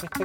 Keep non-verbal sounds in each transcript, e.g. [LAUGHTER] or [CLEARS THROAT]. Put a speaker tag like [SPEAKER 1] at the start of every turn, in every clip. [SPEAKER 1] Dette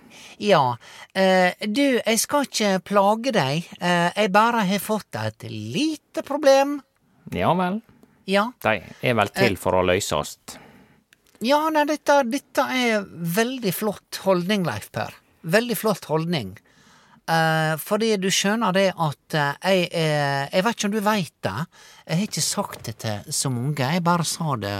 [SPEAKER 1] Ja, eh, du, jeg skal ikke plage deg, eh, jeg bare har fått et lite problem.
[SPEAKER 2] Ja vel.
[SPEAKER 1] Ja,
[SPEAKER 2] De er vel
[SPEAKER 1] Eh.
[SPEAKER 2] til for å løses.
[SPEAKER 1] Ja, nei, dette, dette er veldig flott holdning, Leif Per. Veldig flott holdning. Eh, fordi du skjønner det at eh, jeg er Jeg vet ikke om du veit det. Jeg har ikke sagt det til så mange. Jeg bare sa det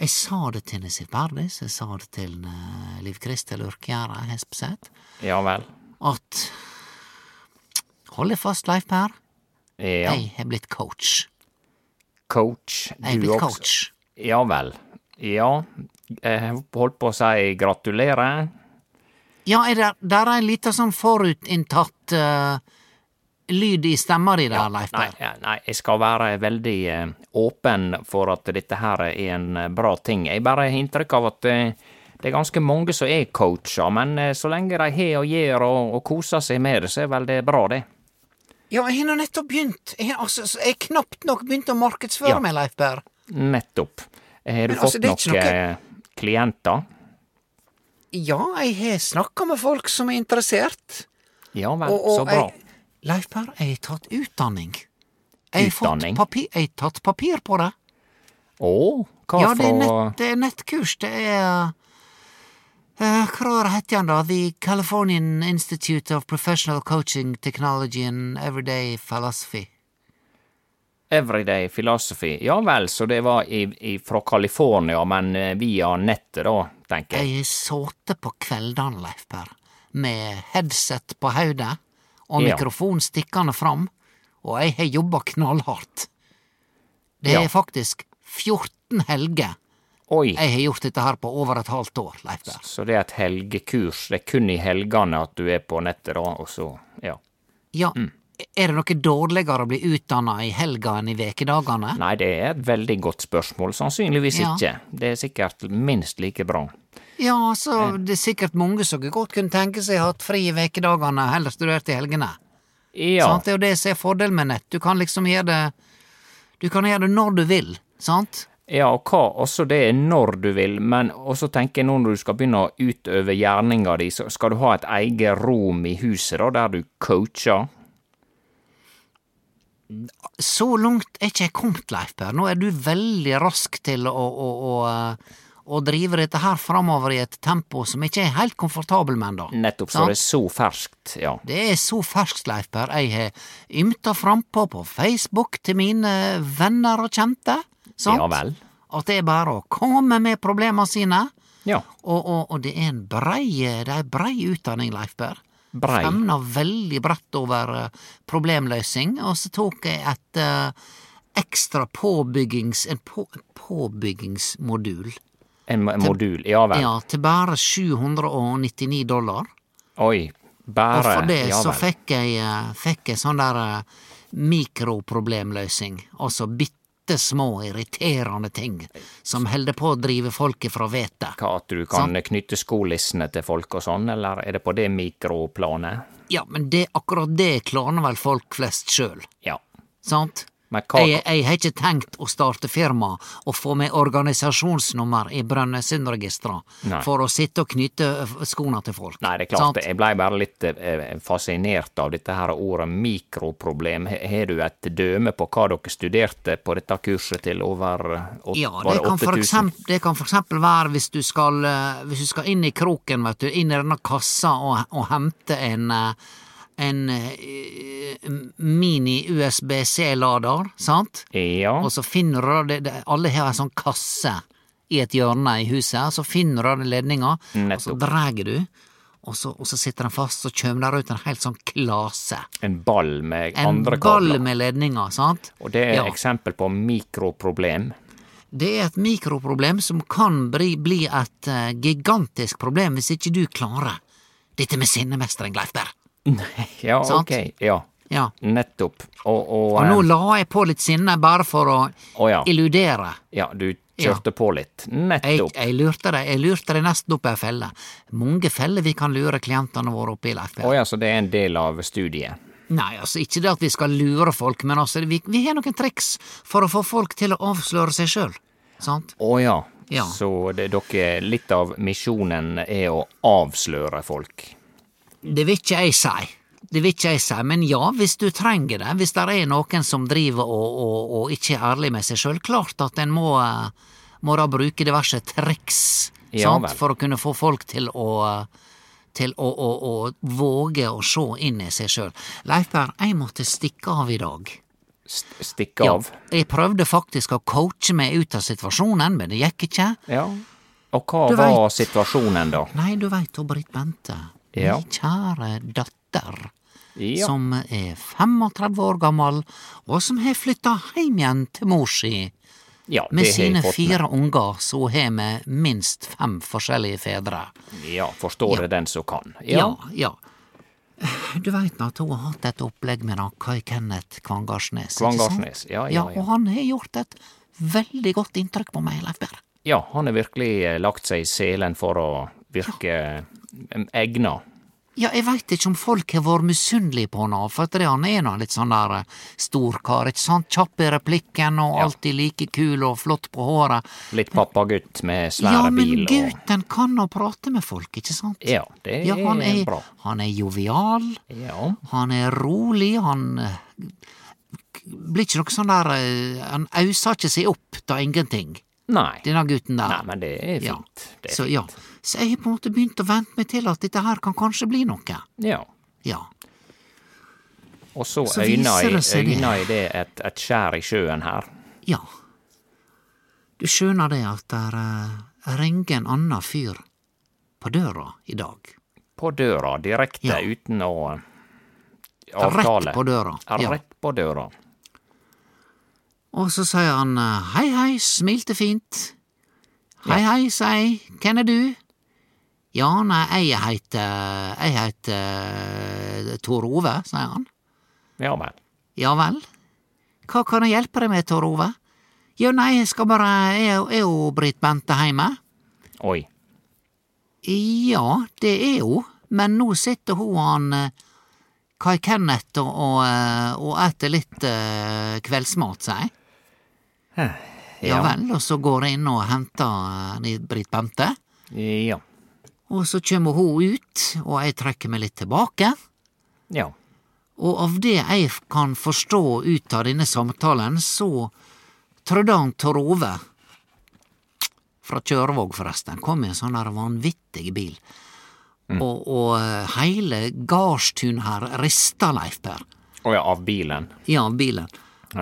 [SPEAKER 1] Jeg sa det til Nesif Berdis, jeg sa det til eh, Liv Kristel Urkjæra Hespseth,
[SPEAKER 2] Ja vel.
[SPEAKER 1] at Hold deg fast, Leif Per.
[SPEAKER 2] Ja.
[SPEAKER 1] Jeg har blitt coach.
[SPEAKER 2] Coach,
[SPEAKER 1] Jeg har
[SPEAKER 2] du
[SPEAKER 1] blitt
[SPEAKER 2] også.
[SPEAKER 1] coach.
[SPEAKER 2] Ja vel. Ja, jeg holdt på å si gratulerer.
[SPEAKER 1] Ja, er der, der er en liten sånn forutinntatt eh, lyd i stemma di der, Leif
[SPEAKER 2] Nei,
[SPEAKER 1] Per.
[SPEAKER 2] ja, nei, jeg skal være veldig eh, åpen for at dette her er en eh, bra ting. Jeg bare har inntrykk av at eh, det er ganske mange som er coacher, men eh, så lenge de har og gjør og, og koser seg med det, så er vel det bra, det.
[SPEAKER 1] Ja, jeg har nå nettopp begynt. Jeg har altså, så jeg har knapt nok begynt å markedsføre
[SPEAKER 2] Ja.
[SPEAKER 1] meg, Leif Per.
[SPEAKER 2] Nettopp. Har du
[SPEAKER 1] Men altså,
[SPEAKER 2] fått
[SPEAKER 1] det er ikke
[SPEAKER 2] noen
[SPEAKER 1] noe-
[SPEAKER 2] eh, klienter?
[SPEAKER 1] Ja, jeg har snakka med folk som er interessert.
[SPEAKER 2] Ja vel,
[SPEAKER 1] Og, og
[SPEAKER 2] så bra.
[SPEAKER 1] Jeg, Leif Per, jeg har tatt utdanning. Jeg har, fått
[SPEAKER 2] Utdanning?
[SPEAKER 1] papir, jeg har tatt papir på det.
[SPEAKER 2] Å, hva
[SPEAKER 1] Ja, det
[SPEAKER 2] fra
[SPEAKER 1] er, nett, det er nettkurs. Det er eh, Hva var det het igjen, da? The Californian Institute of Professional Coaching Technology and Everyday Philosophy.
[SPEAKER 2] Everyday Philosophy? Ja vel, så det var i, i, fra California, men eh, via nettet, da, tenker jeg.
[SPEAKER 1] Jeg har sittet på kveldene, Leif Per, med headset på hodet og
[SPEAKER 2] Ja.
[SPEAKER 1] mikrofon stikkende fram, og jeg har jobba knallhardt. Det
[SPEAKER 2] Ja.
[SPEAKER 1] er faktisk 14 helger
[SPEAKER 2] Oi.
[SPEAKER 1] jeg har gjort dette her på over et halvt år, Leif Per.
[SPEAKER 2] Så det er et helgekurs. Det er kun i helgene at du er på nettet, da, og så Ja.
[SPEAKER 1] Ja,
[SPEAKER 2] Mm.
[SPEAKER 1] er det noe dårligere å bli utdanna i helga enn i vekedagene?
[SPEAKER 2] Nei, det er et veldig godt spørsmål. Sannsynligvis
[SPEAKER 1] Ja.
[SPEAKER 2] ikke. Det er sikkert minst like bra.
[SPEAKER 1] Ja, altså, det er sikkert mange som godt kunne tenke seg å ha hatt fri i vekedagene, heller studert i helgene.
[SPEAKER 2] Ja.
[SPEAKER 1] Sant? Det er jo det som er fordelen med nett. Du kan liksom gjøre det Du kan gjøre det når du vil, sant?
[SPEAKER 2] ja, og hva også det er når du vil, men også tenker jeg nå når du skal begynne å utøve gjerninga di, så skal du ha et eget rom i huset, da, der du coacher.
[SPEAKER 1] Så langt er ikke jeg kommet, Leif Per. Nå er du veldig rask til å, å, å, å drive dette her framover i et tempo som ikke er helt komfortabel med ennå.
[SPEAKER 2] Nettopp, så
[SPEAKER 1] Sant.
[SPEAKER 2] det er så ferskt, ja.
[SPEAKER 1] Det er så ferskt, Leif Per. Jeg har ymta frampå på Facebook til mine venner og kjente. Sant?
[SPEAKER 2] Ja vel.
[SPEAKER 1] At det er bare å komme med problemene sine.
[SPEAKER 2] Ja.
[SPEAKER 1] Og, og, og det er en brei, det er en brei utdanning, Leif Per.
[SPEAKER 2] Brei.
[SPEAKER 1] Femna veldig bredt over eh, problemløsing, og så tok jeg et eh, ekstra påbyggings... En på, påbyggingsmodul.
[SPEAKER 2] En mo- modul. Ja vel.
[SPEAKER 1] Ja, til bare 799 dollar.
[SPEAKER 2] Oi.
[SPEAKER 1] Og
[SPEAKER 2] Bare.
[SPEAKER 1] for det
[SPEAKER 2] Ja
[SPEAKER 1] så
[SPEAKER 2] vel.
[SPEAKER 1] fikk jeg, eh, fikk jeg sånn der eh, mikroproblemløsing. Altså bitte små, irriterende ting som holder på å drive folk ifra vettet.
[SPEAKER 2] Hva, at du kan knytte skolissene til folk og sånn, eller er det på det mikroplanet?
[SPEAKER 1] Ja, men det, akkurat det klarer vel folk flest sjøl,
[SPEAKER 2] Ja.
[SPEAKER 1] sant?
[SPEAKER 2] Men hva,
[SPEAKER 1] Jeg, jeg har ikke tenkt å starte firma og få med organisasjonsnummer i Brønnøysundregistra
[SPEAKER 2] Nei.
[SPEAKER 1] for å sitte og knyte eh, skoene til folk.
[SPEAKER 2] Nei, det er klart,
[SPEAKER 1] sant?
[SPEAKER 2] jeg blei bare litt eh, fascinert av dette her ordet mikroproblem. He- Har du et døme på hva dere studerte på dette kurset til over eh, åt-
[SPEAKER 1] Ja,
[SPEAKER 2] var
[SPEAKER 1] det
[SPEAKER 2] det
[SPEAKER 1] kan, for
[SPEAKER 2] 8000?
[SPEAKER 1] eksempel, det kan for eksempel være hvis du skal, eh, hvis du skal inn i kroken, vet du, inn i denne kassa og, og hente en, eh, en eh, mini-USBC-lader, sant?
[SPEAKER 2] Ja.
[SPEAKER 1] Og så finner du det, det Alle har ei sånn kasse i et hjørne i huset, så finner du den ledninga, og så
[SPEAKER 2] Nettopp.
[SPEAKER 1] drar du, og så, og så sitter den fast, så kjem der ut en helt sånn klase.
[SPEAKER 2] En ball med
[SPEAKER 1] En
[SPEAKER 2] andre
[SPEAKER 1] ball
[SPEAKER 2] kabler.
[SPEAKER 1] med ledninger, sant?
[SPEAKER 2] Og det er
[SPEAKER 1] Ja.
[SPEAKER 2] eksempel på mikroproblem.
[SPEAKER 1] Det er et mikroproblem som kan bli, bli et eh, gigantisk problem hvis ikke du klarer dette med sinnemestring, Leif Berr.
[SPEAKER 2] Ja,
[SPEAKER 1] [LAUGHS] Sant?
[SPEAKER 2] ok. Ja,
[SPEAKER 1] Ja.
[SPEAKER 2] nettopp. Og, og,
[SPEAKER 1] Og nå
[SPEAKER 2] eh,
[SPEAKER 1] la jeg på litt sinne bare for å
[SPEAKER 2] å ja.
[SPEAKER 1] illudere.
[SPEAKER 2] ja, du kjørte på litt.
[SPEAKER 1] Jeg,
[SPEAKER 2] Nettopp.
[SPEAKER 1] jeg lurte deg jeg lurte deg nesten opp i ei felle. Mange feller vi kan lure klientene våre oppi, Leif
[SPEAKER 2] Å
[SPEAKER 1] Per.
[SPEAKER 2] ja, så det er en del av studiet.
[SPEAKER 1] Nei, altså, ikke det at vi skal lure folk, men altså, vi, vi har noen triks for å få folk til å avsløre seg sjøl. Sant?
[SPEAKER 2] Å ja.
[SPEAKER 1] Ja.
[SPEAKER 2] Så det, dere, litt av misjonen er å avsløre folk.
[SPEAKER 1] Det vil ikke jeg si. Det vil ikke jeg si, men ja, hvis du trenger det, hvis det er noen som driver og, og, og ikke er ærlig med seg sjøl, klart at en må, eh, må da bruke diverse triks
[SPEAKER 2] Ja
[SPEAKER 1] sant?
[SPEAKER 2] vel.
[SPEAKER 1] for å kunne få folk til å eh, til å, å, å våge å se inn i seg sjøl. Leif Per, jeg måtte stikke av i dag.
[SPEAKER 2] St stikke av.
[SPEAKER 1] Jeg prøvde faktisk å coache meg ut av situasjonen, men det gikk ikke.
[SPEAKER 2] Ja. Og hva
[SPEAKER 1] Du
[SPEAKER 2] var situasjonen da?
[SPEAKER 1] Nei, du veit, Britt Bente,
[SPEAKER 2] Ja.
[SPEAKER 1] min kjære datter.
[SPEAKER 2] Ja.
[SPEAKER 1] som er 35 år gammel, og som har flytta heim igjen til mor si.
[SPEAKER 2] ja,
[SPEAKER 1] Med
[SPEAKER 2] det har jeg
[SPEAKER 1] sine
[SPEAKER 2] fått
[SPEAKER 1] fire unger, så har vi minst fem forskjellige fedre.
[SPEAKER 2] med. Ja, forstår det den som kan. Ja.
[SPEAKER 1] Ja, ja. Du veit at hun har hatt et opplegg med han Kai Kenneth Kvangarsnes. ikke sant?
[SPEAKER 2] Kvangarsnes. Ja,
[SPEAKER 1] Ja,
[SPEAKER 2] ja, ja.
[SPEAKER 1] og han har gjort et veldig godt inntrykk på meg, Leif Berr.
[SPEAKER 2] Ja, han har virkelig eh, lagt seg i selen for å virke eh, egna.
[SPEAKER 1] Ja, jeg veit ikke om folk har vært misunnelige på han, for at det, han er nå litt sånn der eh, storkar, ikke sant, kjapp i replikken og alltid like kul og flott på håret.
[SPEAKER 2] Litt pappagutt med
[SPEAKER 1] Ja,
[SPEAKER 2] svære
[SPEAKER 1] men
[SPEAKER 2] bil og
[SPEAKER 1] gutten kan å prate med folk, ikke sant?
[SPEAKER 2] Ja, det
[SPEAKER 1] Ja, han
[SPEAKER 2] er
[SPEAKER 1] er,
[SPEAKER 2] bra.
[SPEAKER 1] han er jovial,
[SPEAKER 2] Ja.
[SPEAKER 1] han er rolig, han eh, k- blir ikke noe sånn der eh, Han auser ikke seg opp da ingenting,
[SPEAKER 2] Nei.
[SPEAKER 1] denne gutten
[SPEAKER 2] Nei,
[SPEAKER 1] der.
[SPEAKER 2] men det er
[SPEAKER 1] Ja.
[SPEAKER 2] fint. Det er
[SPEAKER 1] Så ja, så jeg har på en måte begynt å vente meg til at dette her kan kanskje bli noe.
[SPEAKER 2] Ja.
[SPEAKER 1] Ja.
[SPEAKER 2] Og så,
[SPEAKER 1] Så
[SPEAKER 2] øyna
[SPEAKER 1] viser
[SPEAKER 2] i,
[SPEAKER 1] det seg det.
[SPEAKER 2] øyna i det et, et skjær i sjøen her.
[SPEAKER 1] Ja. Du skjønner det at der eh, ringer en annen fyr på døra i dag.
[SPEAKER 2] På døra, direkte,
[SPEAKER 1] Ja.
[SPEAKER 2] uten å eh,
[SPEAKER 1] Rett
[SPEAKER 2] avtale.
[SPEAKER 1] på døra.
[SPEAKER 2] Ja, Rett på døra.
[SPEAKER 1] Og så sier han eh, hei, hei, smilte fint. Hei, hei, sier jeg, hvem er du? Ja, nei, jeg heter Jeg heter eh, Tor Ove, sier han.
[SPEAKER 2] Ja vel.
[SPEAKER 1] Ja vel? Hva kan jeg hjelpe deg med, Tor Ove? Jo, nei, jeg skal bare Er er jo Britt Bente heime?
[SPEAKER 2] Oi.
[SPEAKER 1] Ja, det er hun, men nå sitter hun og han eh, Kai Kenneth og, og, eh, og eter litt eh, kveldsmat, sier jeg. Ja vel, og så går jeg inn og henter eh, Britt Bente.
[SPEAKER 2] Ja.
[SPEAKER 1] Og så kommer hun ut, og jeg trekker meg litt tilbake.
[SPEAKER 2] Ja.
[SPEAKER 1] Og av det jeg f- kan forstå ut av denne samtalen, så trodde han Tor Ove fra Kjørvåg, forresten, kom i en sånn der vanvittig bil. Og, og eh, hele Garstun her rista, Leif Per.
[SPEAKER 2] Å ja, av bilen.
[SPEAKER 1] Ja, bilen.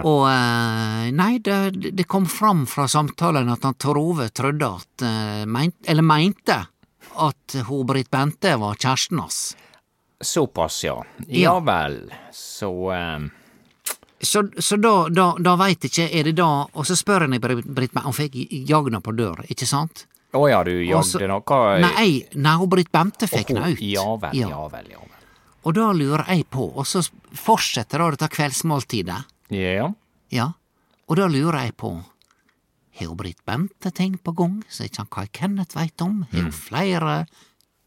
[SPEAKER 1] Og eh, nei, det, det kom fram fra samtalen at han Tor Ove trodde at eh, meint, Eller mente at hun Britt Bente var kjæresten hans.
[SPEAKER 2] Såpass, ja. Ja,
[SPEAKER 1] Ja.
[SPEAKER 2] vel. Så eh,
[SPEAKER 1] Så, så da, da, da veit ikke er det da Og så spør han Britt Britt Bente, hun fikk jagna på dør, ikke sant?
[SPEAKER 2] Å ja, du
[SPEAKER 1] Og så-
[SPEAKER 2] jagde noe
[SPEAKER 1] Nei, nei, hun Britt Bente fikk henne ut.
[SPEAKER 2] Ja vel, ja vel, ja vel.
[SPEAKER 1] Og da lurer jeg på, og så fortsetter da dette kveldsmåltidet.
[SPEAKER 2] Ja.
[SPEAKER 1] Ja, og da lurer jeg på Har hun Britt Bente ting på gang som ikke han Kai Kenneth veit om? Har hun flere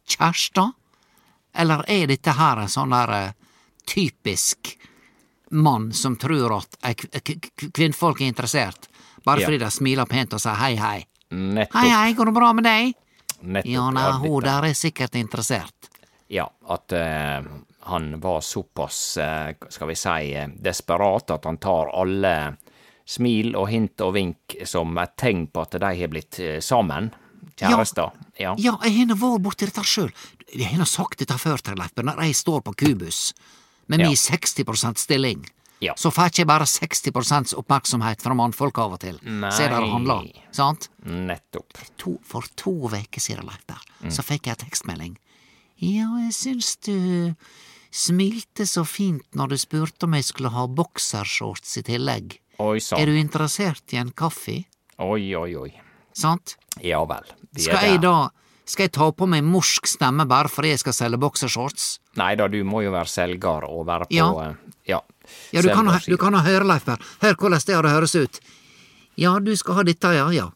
[SPEAKER 1] kjærester? Eller er dette her en sånn der eh, typisk mann som tror at eh, k- k- k- kvinnfolk er interessert, bare
[SPEAKER 2] Ja.
[SPEAKER 1] fordi de smiler pent og sier hei, hei? Hei,
[SPEAKER 2] Nettopp.
[SPEAKER 1] hei, går det bra med [LAUGHS] deg?
[SPEAKER 2] nettopp
[SPEAKER 1] Ja, nei,
[SPEAKER 2] av
[SPEAKER 1] hun
[SPEAKER 2] dette.
[SPEAKER 1] der er sikkert interessert.
[SPEAKER 2] Ja, at eh, han var såpass, eh, skal vi si, eh, desperat at han tar alle smil og hint og vink som et tegn på at de har blitt eh, sammen. Kjærester. Ja.
[SPEAKER 1] Ja, jeg har nå vært borti dette sjøl. Jeg har nå sagt dette før, Terleif, men når jeg står på kubus med
[SPEAKER 2] Ja.
[SPEAKER 1] mi 60 stilling,
[SPEAKER 2] Ja.
[SPEAKER 1] så får ikke jeg bare 60 oppmerksomhet fra mannfolk av og til.
[SPEAKER 2] Nei.
[SPEAKER 1] Se der det handler, sant?
[SPEAKER 2] Nettopp.
[SPEAKER 1] To, for to veker siden, Leif Berr,
[SPEAKER 2] Mm.
[SPEAKER 1] så fikk jeg en tekstmelding. Ja, jeg syns du smilte så fint når du spurte om jeg skulle ha boksershorts i tillegg.
[SPEAKER 2] Oi
[SPEAKER 1] Er
[SPEAKER 2] sann.
[SPEAKER 1] du interessert i en kaffe?
[SPEAKER 2] Oi, oi, oi.
[SPEAKER 1] Sant?
[SPEAKER 2] Ja vel. Vi
[SPEAKER 1] Skal
[SPEAKER 2] er
[SPEAKER 1] jeg
[SPEAKER 2] der.
[SPEAKER 1] da Skal jeg ta på meg morsk stemme bare fordi jeg skal selge boksershorts?
[SPEAKER 2] Nei da, du må jo være selger og være på
[SPEAKER 1] Ja.
[SPEAKER 2] eh, ja.
[SPEAKER 1] Ja, du kan, ha-
[SPEAKER 2] selgersiden.
[SPEAKER 1] du kan ha høre, Leif Berr. Hør hvordan det har det høres ut. Ja, du skal ha dette, ja, ja.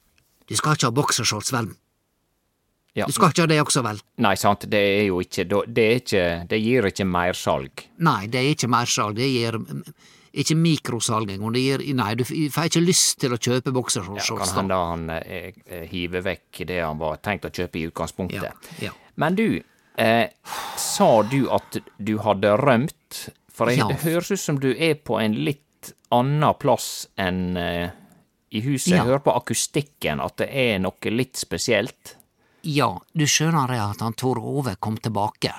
[SPEAKER 1] Du skal ikke ha boksershorts, vel?
[SPEAKER 2] Ja.
[SPEAKER 1] Du skal ikke ha det også, vel?
[SPEAKER 2] Nei, sant, det er jo ikke da- Det, er ikke, det gir ikke mersalg.
[SPEAKER 1] Nei, det er ikke mersalg. Det gir mm, ikke mikrosalging. Og det gir Nei, du f- får ikke lyst til å kjøpe
[SPEAKER 2] Kan
[SPEAKER 1] boksershorts. da.
[SPEAKER 2] hende han eh, eh, hiver vekk det han var tenkt å kjøpe i
[SPEAKER 1] ja,
[SPEAKER 2] utgangspunktet.
[SPEAKER 1] ja.
[SPEAKER 2] Men du, eh, sa du at du hadde rømt? For jeg,
[SPEAKER 1] Ja.
[SPEAKER 2] det høres ut som du er på en litt annen plass enn eh, i huset.
[SPEAKER 1] Ja.
[SPEAKER 2] Jeg hører på akustikken at det er noe litt spesielt.
[SPEAKER 1] ja, du skjønner det at han Tor Ove kom tilbake.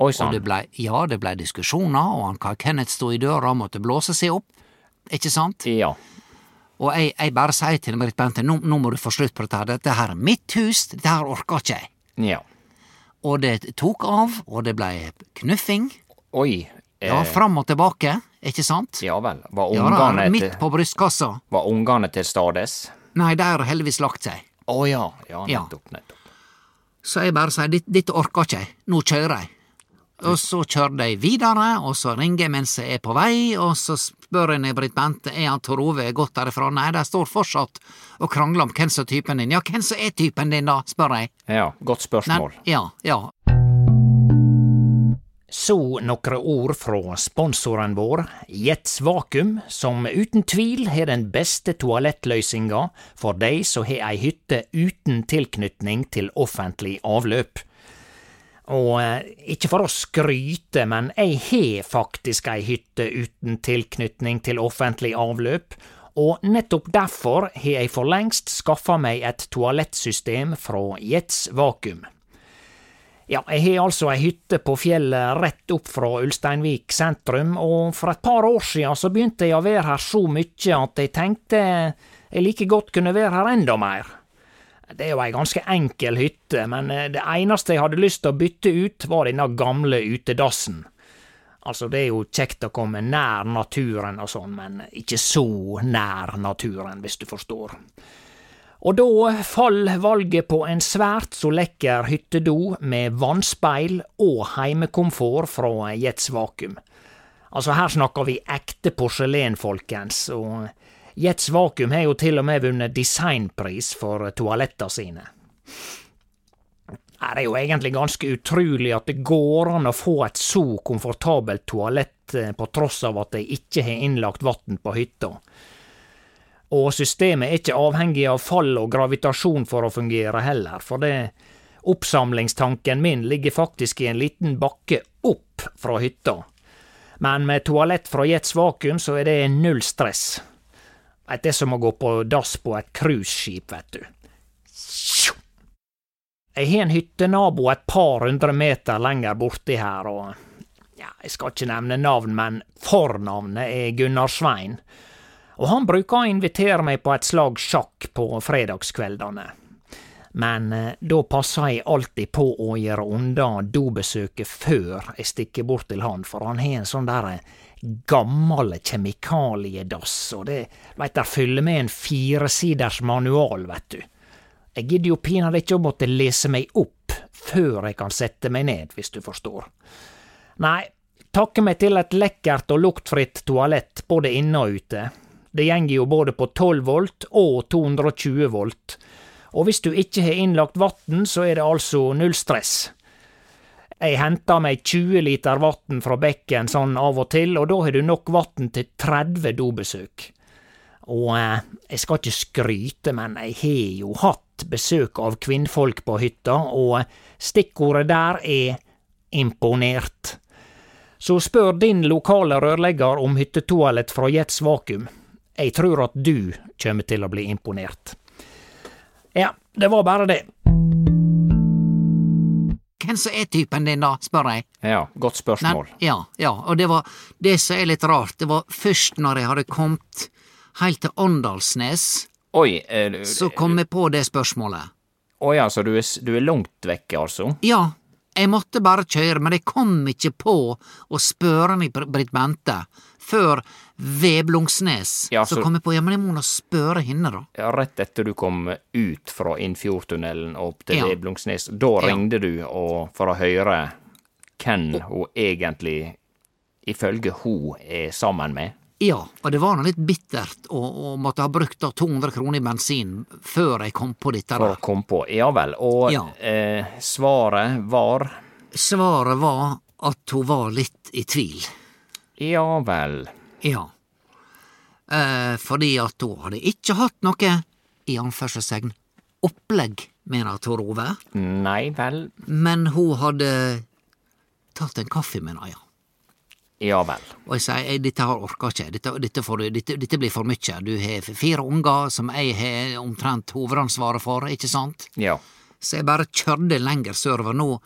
[SPEAKER 2] Oi
[SPEAKER 1] Og
[SPEAKER 2] sann.
[SPEAKER 1] det blei Ja, det blei diskusjoner, og han Carl Kenneth stod i døra og måtte blåse seg opp. Ikke sant?
[SPEAKER 2] Ja.
[SPEAKER 1] Og jeg, jeg bare sier til Britt Bente, nå, nå må du få slutt på dette, her. dette her er mitt hus, dette her orker ikke jeg.
[SPEAKER 2] ja.
[SPEAKER 1] Og det tok av, og det blei knuffing.
[SPEAKER 2] Oi. Eh,
[SPEAKER 1] Ja, fram og tilbake, ikke sant?
[SPEAKER 2] ja vel. Var
[SPEAKER 1] Ja, da,
[SPEAKER 2] ungene,
[SPEAKER 1] midt
[SPEAKER 2] til,
[SPEAKER 1] på brystkassa.
[SPEAKER 2] var ungene til stades?
[SPEAKER 1] Nei, de har heldigvis lagt seg.
[SPEAKER 2] Å ja. Ja,
[SPEAKER 1] Ja.
[SPEAKER 2] nettopp, nettopp.
[SPEAKER 1] Så jeg bare sier, dette, dette orker ikke jeg, nå kjører jeg. Og så kjører de videre, og så ringer jeg mens jeg er på vei, og så spør jeg Britt Bente, er han Tor Ove gått derifra? Nei, de står fortsatt og krangler om hvem som er typen din. Ja, hvem som er typen din da, spør jeg.
[SPEAKER 2] Ja, godt
[SPEAKER 1] Nei,
[SPEAKER 2] spørsmål.
[SPEAKER 1] ja, ja,
[SPEAKER 2] Så nokre ord fra sponsoren vår, Jets Vakuum, som uten tvil har den beste toalettløysinga for dei som har ei hytte uten tilknytning til offentlig avløp. Og eh, ikke for å skryte, men jeg har faktisk ei hytte uten tilknytning til offentlig avløp, og nettopp derfor har jeg for lengst skaffa meg et toalettsystem fra Jets Vakuum. Ja, jeg har altså ei hytte på fjellet rett opp fra Ulsteinvik sentrum, og for et par år sia så begynte jeg å være her så mye at jeg tenkte jeg like godt kunne være her enda mer. Det er jo ei ganske enkel hytte, men eh, det eneste jeg hadde lyst til å bytte ut, var denne gamle utedassen. Altså, det er jo kjekt å komme nær naturen og sånn, men ikke så nær naturen, hvis du forstår. Og da fall valget på en svært så lekker hyttedo med vannspeil og heimekomfort fra Jets Vakuum. Altså, her snakker vi ekte porselen, folkens, og Jets Vakuum har jo til og med vunnet designpris for toalettene sine. Nei, Det er jo egentlig ganske utrolig at det går an å få et så komfortabelt toalett eh, på tross av at de ikke har innlagt vann på hytta og systemet er ikke avhengig av fall og gravitasjon for å fungere heller, for det oppsamlingstanken min ligger faktisk i en liten bakke opp fra hytta. Men med toalett fra Jets Vakuum så er det null stress. Vet, Det er som å gå på dass på et cruiseskip, vet du. Sjo! Jeg har en hyttenabo et par hundre meter lenger borti her, og ja, jeg skal ikke nevne navn, men fornavnet er Gunnar Svein og han bruker å invitere meg på et slag sjakk på fredagskveldene. Men eh, da passer jeg alltid på å gjøre unna dobesøket før jeg stikker bort til han, for han har en sånn der eh, gammel kjemikaliedass, og det veit der fyller med en firesiders manual, veit du. Jeg gidder jo pinadø ikke å måtte lese meg opp før jeg kan sette meg ned, hvis du forstår. Nei, takke meg til et lekkert og luktfritt toalett både inne og ute. Det gjenger jo både på 12 volt og 220 volt. Og hvis du ikke har innlagt vann, så er det altså null stress. Jeg henter meg 20 liter vann fra bekken sånn av og til, og da har du nok vann til 30 dobesøk. Og eh, jeg skal ikke skryte, men jeg har jo hatt besøk av kvinnfolk på hytta, og stikkordet der er imponert. Så spør din lokale rørlegger om hyttetoalett fra Jets Vakuum. Jeg tror at du kommer til å bli imponert. Ja, det var bare det.
[SPEAKER 1] Hvem som er typen din, da, spør jeg.
[SPEAKER 2] Ja, godt spørsmål.
[SPEAKER 1] Nei, ja, ja, og det var det som er litt rart. Det var først når jeg hadde kommet helt til Åndalsnes,
[SPEAKER 2] Oi, eh, du-
[SPEAKER 1] så kom jeg på det spørsmålet.
[SPEAKER 2] å ja, så du er, s- du er langt vekke, altså?
[SPEAKER 1] Ja, jeg måtte bare kjøre, men jeg kom ikke på å spørre meg Br- Britt Bente før Veblungsnes.
[SPEAKER 2] Ja,
[SPEAKER 1] så...
[SPEAKER 2] så-
[SPEAKER 1] kom jeg på, ja, men jeg må nå spørre henne, da.
[SPEAKER 2] Ja, Rett etter du kom ut fra Innfjordtunnelen og opp til
[SPEAKER 1] Ja.
[SPEAKER 2] Veblungsnes, da ringte du og, for å høre hvem hun egentlig, ifølge hun, er sammen med?
[SPEAKER 1] Ja, og det var nå litt bittert å, å måtte ha brukt da 200 kroner i bensin før jeg kom på dette
[SPEAKER 2] For
[SPEAKER 1] der.
[SPEAKER 2] å komme på. Ja vel. Og
[SPEAKER 1] Ja.
[SPEAKER 2] eh, svaret var
[SPEAKER 1] Svaret var at hun var litt i tvil.
[SPEAKER 2] ja vel.
[SPEAKER 1] Ja. Eh, fordi at hun hadde ikke hatt noe, i anførselssegn, opplegg, mener Tor Ove,
[SPEAKER 2] Nei vel.
[SPEAKER 1] men hun hadde tatt en kaffe med henne, ja.
[SPEAKER 2] Ja vel.
[SPEAKER 1] Og jeg sier «Ei, dette her orker ikke, jeg. dette, dette, får du, dette, dette blir for mye. Du har fire unger som jeg har omtrent hovedansvaret for, ikke sant?
[SPEAKER 2] Ja.
[SPEAKER 1] Så jeg bare kjørte lenger sørover nå.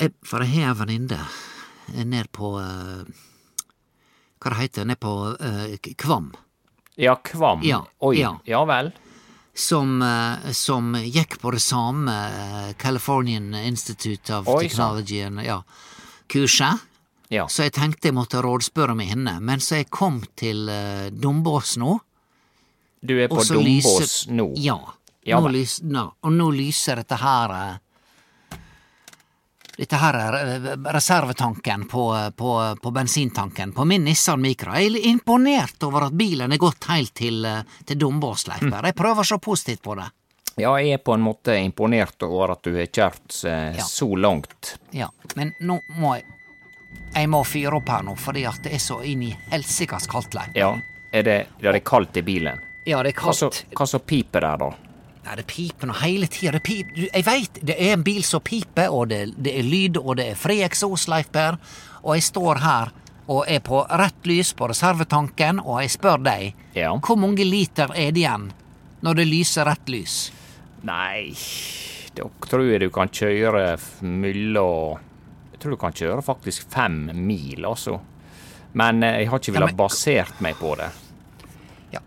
[SPEAKER 1] Jeg, for jeg har ei venninne ned på eh, Hva det heter det, ned på eh, K- Kvam,
[SPEAKER 2] Ja, Kvam.
[SPEAKER 1] Ja,
[SPEAKER 2] Oi.
[SPEAKER 1] ja.
[SPEAKER 2] ja vel.
[SPEAKER 1] som, eh, som gikk på det samme eh, Californian Institute of
[SPEAKER 2] Oi, sant.
[SPEAKER 1] Technology and- ja, kurset.
[SPEAKER 2] Ja.
[SPEAKER 1] Så jeg tenkte jeg måtte rådspørre med henne, men så jeg kom til uh, Dombås nå
[SPEAKER 2] Du er på
[SPEAKER 1] og så
[SPEAKER 2] Dombås
[SPEAKER 1] lyser-
[SPEAKER 2] nå.
[SPEAKER 1] Ja.
[SPEAKER 2] Ja
[SPEAKER 1] nå
[SPEAKER 2] vel.
[SPEAKER 1] lys, nå, og nå lyser dette her eh, Dette her er eh, reservetanken på, eh, på, på bensintanken på min Nissan Micra. Jeg er imponert over at bilen er gått helt til, eh, til Dombås, Leif
[SPEAKER 2] Mm.
[SPEAKER 1] Berr. Jeg prøver å se positivt på det.
[SPEAKER 2] Ja, jeg er på en måte imponert over at du har kjørt eh,
[SPEAKER 1] Ja.
[SPEAKER 2] så langt.
[SPEAKER 1] Ja, men nå må jeg Jeg må fyre opp her nå, fordi at det er så inn i helsikas kaldt, Leif.
[SPEAKER 2] Ja. Er det, er det kaldt i bilen?
[SPEAKER 1] Ja, det er
[SPEAKER 2] Hva så,
[SPEAKER 1] kaldt.
[SPEAKER 2] hva så piper der, da?
[SPEAKER 1] Nei, det piper nå hele tida. Det pip. Du, Jeg veit det er en bil som piper, og det, det er lyd, og det er fri eksos, Leif Per. Og jeg står her og er på rett lys på reservetanken, og jeg spør deg
[SPEAKER 2] Ja.
[SPEAKER 1] hvor mange liter er det igjen når det lyser rett lys?
[SPEAKER 2] Nei, da tror jeg du kan kjøre f- mellom Jeg tror du kan kjøre faktisk fem mil, altså. Men eh, jeg har ikke
[SPEAKER 1] Ja,
[SPEAKER 2] villet
[SPEAKER 1] men-
[SPEAKER 2] basert meg på det.
[SPEAKER 1] Ja.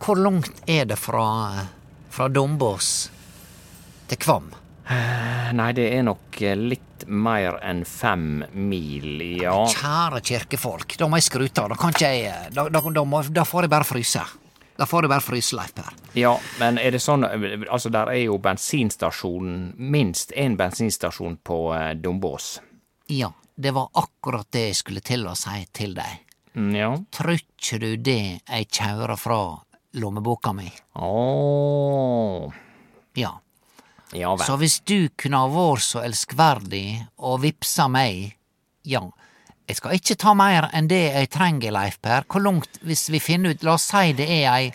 [SPEAKER 1] Hvor langt er det fra, fra Dombås til Kvam?
[SPEAKER 2] Nei, det er nok eh, litt mer enn fem mil, ja.
[SPEAKER 1] Kjære kirkefolk, da må jeg skru av. Da kan ikke jeg Da, da, da, må, da får jeg bare fryse. Da får jeg bare fryse, Leif Per.
[SPEAKER 2] Ja, men er det sånn Altså, der er jo bensinstasjonen Minst én bensinstasjon på eh, Dombås.
[SPEAKER 1] Ja, det var akkurat det jeg skulle til å si til deg.
[SPEAKER 2] Mm, Ja.
[SPEAKER 1] Trykker du det jeg kjører fra lommeboka mi?
[SPEAKER 2] Ååå.
[SPEAKER 1] Ja.
[SPEAKER 2] Ja vel.
[SPEAKER 1] Så hvis du kunne ha vært så elskverdig og vippsa meg Ja, jeg skal ikke ta mer enn det jeg trenger, Leif Per. Hvor langt, hvis vi finner ut La oss si det er ei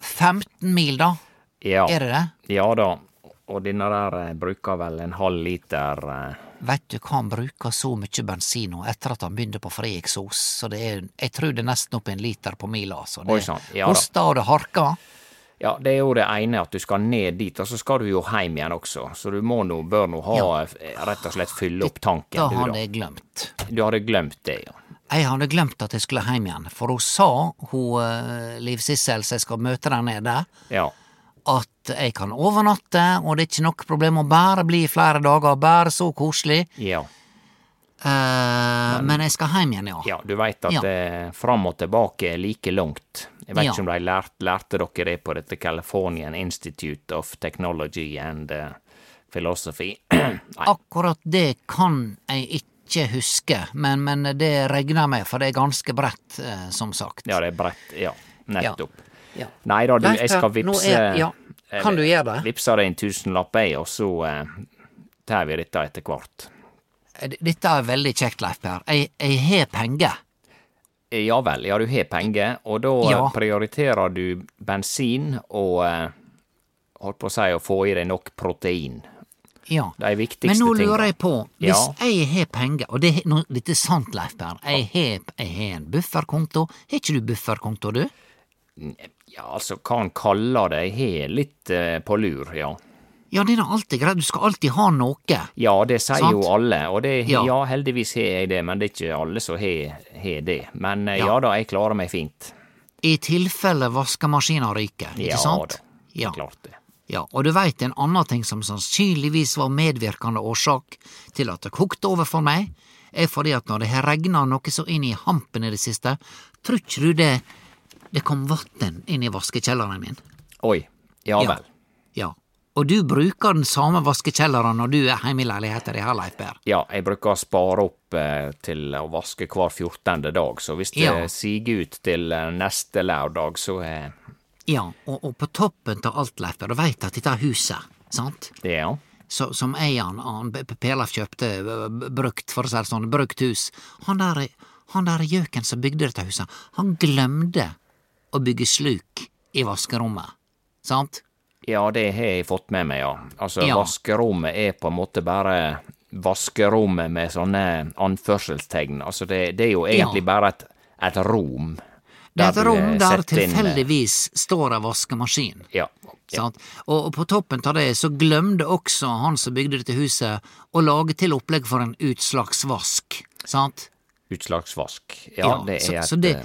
[SPEAKER 1] 15 mil, da?
[SPEAKER 2] Ja.
[SPEAKER 1] Er det det?
[SPEAKER 2] Ja da. Og denne der eh, bruker vel en halv liter eh,
[SPEAKER 1] Veit du hva han bruker så mye bensin nå etter at han begynte på fri eksos, så det er Jeg tror det er nesten opp i en liter på mila, altså.
[SPEAKER 2] Oi, sant. Ja da.
[SPEAKER 1] Hosta og det harker.
[SPEAKER 2] Ja, det er jo det ene at du skal ned dit, og så skal du jo hjem igjen også, så du må nå, bør nå ha eh, rett og slett fylle opp
[SPEAKER 1] Da
[SPEAKER 2] tanken,
[SPEAKER 1] hadde
[SPEAKER 2] du da.
[SPEAKER 1] jeg glemt.
[SPEAKER 2] Du hadde glemt det, ja.
[SPEAKER 1] Jeg hadde glemt at jeg skulle hjem igjen, for hun sa, hun eh, Liv Sissel, som jeg skal møte der nede,
[SPEAKER 2] Ja.
[SPEAKER 1] at jeg kan overnatte, og det er ikke noe problem å bare bli i flere dager, bare så koselig.
[SPEAKER 2] Ja.
[SPEAKER 1] Eh, men jeg skal hjem igjen, ja.
[SPEAKER 2] ja du veit at
[SPEAKER 1] Ja.
[SPEAKER 2] eh, fram og tilbake er like langt. Jeg veit
[SPEAKER 1] Ja.
[SPEAKER 2] ikke om de lært, lærte dere det på dette Californian Institute of Technology and eh, Philosophy. [CLEARS THROAT] Nei.
[SPEAKER 1] Akkurat det kan jeg ikke huske, men, men det regner jeg med, for det er ganske bredt, eh, som sagt.
[SPEAKER 2] Ja, det er bredt. Ja, nettopp.
[SPEAKER 1] Ja.
[SPEAKER 2] Nei da, du,
[SPEAKER 1] Leif
[SPEAKER 2] jeg
[SPEAKER 1] Per,
[SPEAKER 2] skal
[SPEAKER 1] nå
[SPEAKER 2] vippse
[SPEAKER 1] er- ja. Kan du gjøre det?
[SPEAKER 2] Vippse deg en tusenlapp, jeg, og så eh, tar vi dette etter hvert.
[SPEAKER 1] Eh, D- Dette er veldig kjekt, Leif Per. Jeg, jeg har penger.
[SPEAKER 2] Eh, Ja vel, ja du har penger, og da
[SPEAKER 1] Ja.
[SPEAKER 2] eh, prioriterer du bensin og eh, holdt på å si å få i deg nok protein.
[SPEAKER 1] Ja.
[SPEAKER 2] De viktigste
[SPEAKER 1] Men nå lurer
[SPEAKER 2] tingene.
[SPEAKER 1] jeg på, hvis
[SPEAKER 2] Ja.
[SPEAKER 1] jeg har penger, og det, nå, dette er sant, Leif Per, jeg har, jeg har en bufferkonto. Har ikke du bufferkonto, du?
[SPEAKER 2] Ja, altså, hva han kaller det, jeg har litt eh, på lur, ja.
[SPEAKER 1] Ja, det er da alltid greit, du skal alltid ha noe.
[SPEAKER 2] Ja, det sier
[SPEAKER 1] Sant?
[SPEAKER 2] jo alle, og det, ja.
[SPEAKER 1] Ja.
[SPEAKER 2] heldigvis har jeg det, men det er ikke alle som har har det. Men eh, ja.
[SPEAKER 1] Ja.
[SPEAKER 2] da, jeg klarer meg fint.
[SPEAKER 1] I tilfelle vaskemaskina ryker, ikke
[SPEAKER 2] Ja
[SPEAKER 1] sant?
[SPEAKER 2] da.
[SPEAKER 1] Ja,
[SPEAKER 2] Klart det.
[SPEAKER 1] ja, og du veit en annen ting som sannsynligvis var medvirkende årsak til at det kokte over for meg, er fordi at når det har regna noe så inn i hampen i det siste, tror ikke du det Det kom vann inn i vaskekjelleren min.
[SPEAKER 2] Oi. Ja
[SPEAKER 1] Ja.
[SPEAKER 2] vel.
[SPEAKER 1] Ja. Og du bruker den samme vaskekjelleren når du er hjemme i leiligheten din her, Leif Per.
[SPEAKER 2] Ja, jeg bruker å spare opp eh, til å vaske hver 14. dag, så hvis det
[SPEAKER 1] Ja.
[SPEAKER 2] siger ut til eh, neste lørdag, så eh,
[SPEAKER 1] Ja, og, og på toppen av alt, Leif Per, du veit at dette huset, sant?
[SPEAKER 2] Ja.
[SPEAKER 1] så, som eieren han P- P- Pelaf kjøpte ø, b- brukt, for å si det sånn, brukt hus Han der, han der gjøken som bygde dette huset, han glemte å bygge sluk i vaskerommet. Sant?
[SPEAKER 2] Ja, det har jeg fått med meg, ja. Altså,
[SPEAKER 1] Ja.
[SPEAKER 2] vaskerommet er på en måte bare vaskerommet med sånne anførselstegn. Altså, det, det er jo egentlig
[SPEAKER 1] Ja.
[SPEAKER 2] bare et, et rom.
[SPEAKER 1] Det er et
[SPEAKER 2] du, eh,
[SPEAKER 1] rom der
[SPEAKER 2] setter inn, eh,
[SPEAKER 1] tilfeldigvis står ei vaskemaskin.
[SPEAKER 2] Ja.
[SPEAKER 1] Sant? Og, og på toppen av det så glemte også han som bygde dette huset, å lage til opplegg for en utslagsvask. Sant?
[SPEAKER 2] Utslagsvask. Ja, det er
[SPEAKER 1] så,
[SPEAKER 2] et
[SPEAKER 1] så det,
[SPEAKER 2] eh,